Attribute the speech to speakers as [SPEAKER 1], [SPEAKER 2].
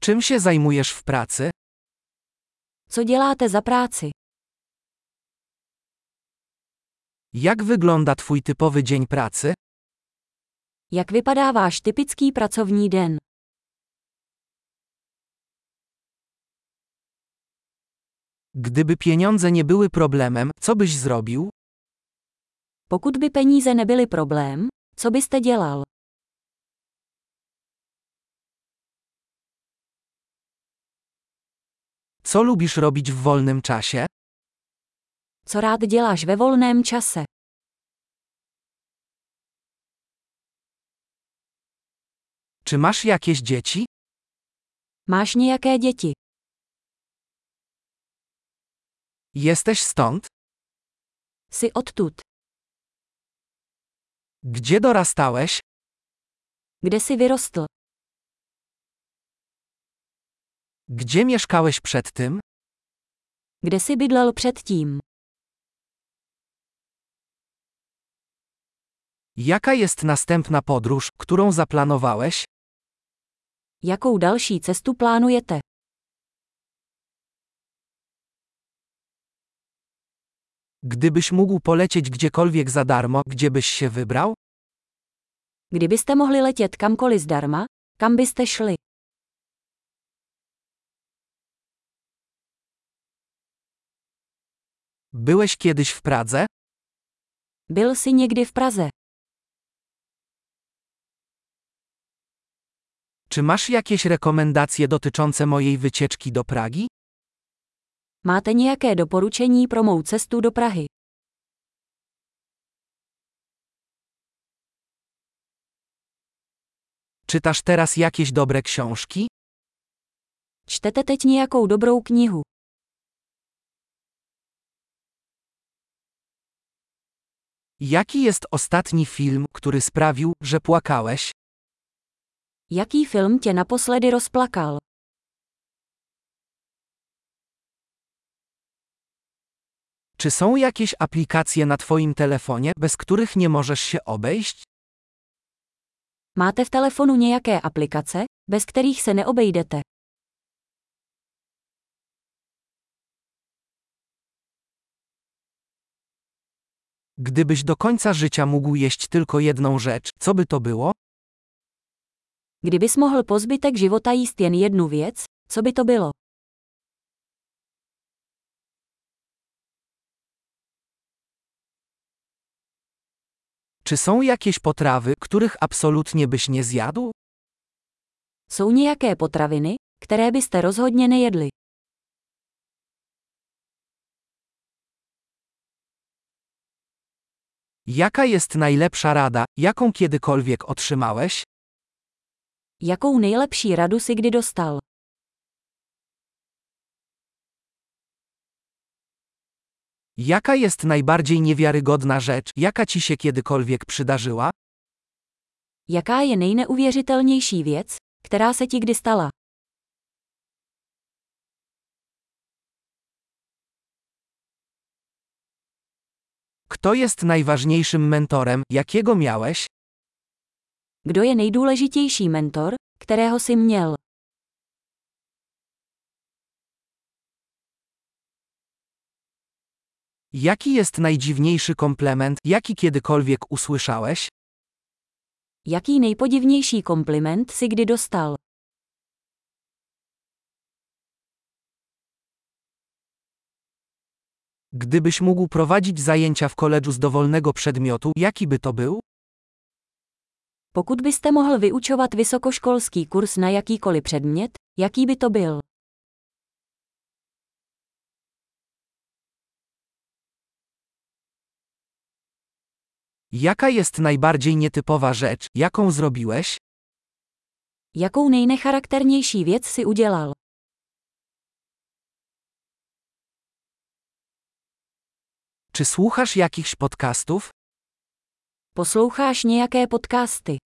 [SPEAKER 1] Czym się zajmujesz w pracy?
[SPEAKER 2] Co děláte za práci?
[SPEAKER 1] Jak wygląda Twój typowy dzień pracy?
[SPEAKER 2] Jak vypadá váš typický pracovní den?
[SPEAKER 1] Gdyby pieniądze nie były problemem, co byś zrobił?
[SPEAKER 2] Pokud by peníze nebyly problém, co byste dělal?
[SPEAKER 1] Co lubisz robić w wolnym czasie?
[SPEAKER 2] Co rád děláš ve volném čase?
[SPEAKER 1] Czy masz jakieś dzieci?
[SPEAKER 2] Máš nějaké děti?
[SPEAKER 1] Jesteś stąd?
[SPEAKER 2] Jsi odtud?
[SPEAKER 1] Gdzie dorastałeś?
[SPEAKER 2] Kde jsi vyrostl?
[SPEAKER 1] Gdzie mieszkałeś przed tym?
[SPEAKER 2] Kde jsi bydlel předtím?
[SPEAKER 1] Jaka jest następna podróż, którą zaplanowałeś?
[SPEAKER 2] Jakou další cestu plánujete?
[SPEAKER 1] Gdybyś mógł polecieć gdziekolwiek za darmo, gdzie byś się wybrał?
[SPEAKER 2] Kdybyste mohli letět kamkoliv zdarma, kam byste šli?
[SPEAKER 1] Byłeś kiedyś w Pradze?
[SPEAKER 2] Byl jsi někdy v Praze?
[SPEAKER 1] Czy masz jakieś rekomendacje dotyczące mojej wycieczki do Pragi?
[SPEAKER 2] Máte nějaké doporučení pro mou cestu do Prahy?
[SPEAKER 1] Czytasz teraz jakieś dobre książki?
[SPEAKER 2] Čtete teď nějakou dobrou knihu?
[SPEAKER 1] Jaki jest ostatni film, który sprawił, że płakałeś?
[SPEAKER 2] Jaký film tě naposledy rozplakal?
[SPEAKER 1] Czy są jakieś aplikacje na Twoim telefonie, bez których nie możesz się obejść?
[SPEAKER 2] Máte v telefonu nějaké aplikace, bez kterých se neobejdete?
[SPEAKER 1] Gdybyś do końca życia mógł jeść tylko jedną rzecz, co by to było?
[SPEAKER 2] Kdybys mohl po zbytek života jíst jen jednu věc, co by to bylo?
[SPEAKER 1] Czy są jakieś potrawy, których absolutnie byś nie zjadł?
[SPEAKER 2] Jsou nějaké potraviny, které byste rozhodně nejedli.
[SPEAKER 1] Jaka jest najlepsza rada, jaką kiedykolwiek otrzymałeś?
[SPEAKER 2] Jakou nejlepší radu si kdy dostal?
[SPEAKER 1] Jaka jest najbardziej niewiarygodna rzecz, jaka ci się kiedykolwiek przydarzyła?
[SPEAKER 2] Jaká je nejneuvěřitelnější věc, která se ti kdy stala?
[SPEAKER 1] Kto jest najważniejszym mentorem, jakiego miałeś?
[SPEAKER 2] Kdo je nejdůležitější mentor, kterého jsi měl?
[SPEAKER 1] Jaki jest najdziwniejszy komplement, jaki kiedykolwiek usłyszałeś?
[SPEAKER 2] Jaký nejpodivnější kompliment si kdy dostal?
[SPEAKER 1] Gdybyś mógł prowadzić zajęcia w koledżu z dowolnego przedmiotu, jaki by to był?
[SPEAKER 2] Pokud byste mohl vyučovat vysokoškolský kurz na jakýkoliv předmět, jaký by to byl?
[SPEAKER 1] Jaka jest najbardziej nietypowa rzecz, jaką zrobiłeś?
[SPEAKER 2] Jakou nejnecharakternější věc si udělal?
[SPEAKER 1] Czy słuchasz jakichś podcastów?
[SPEAKER 2] Posloucháš nějaké podcasty?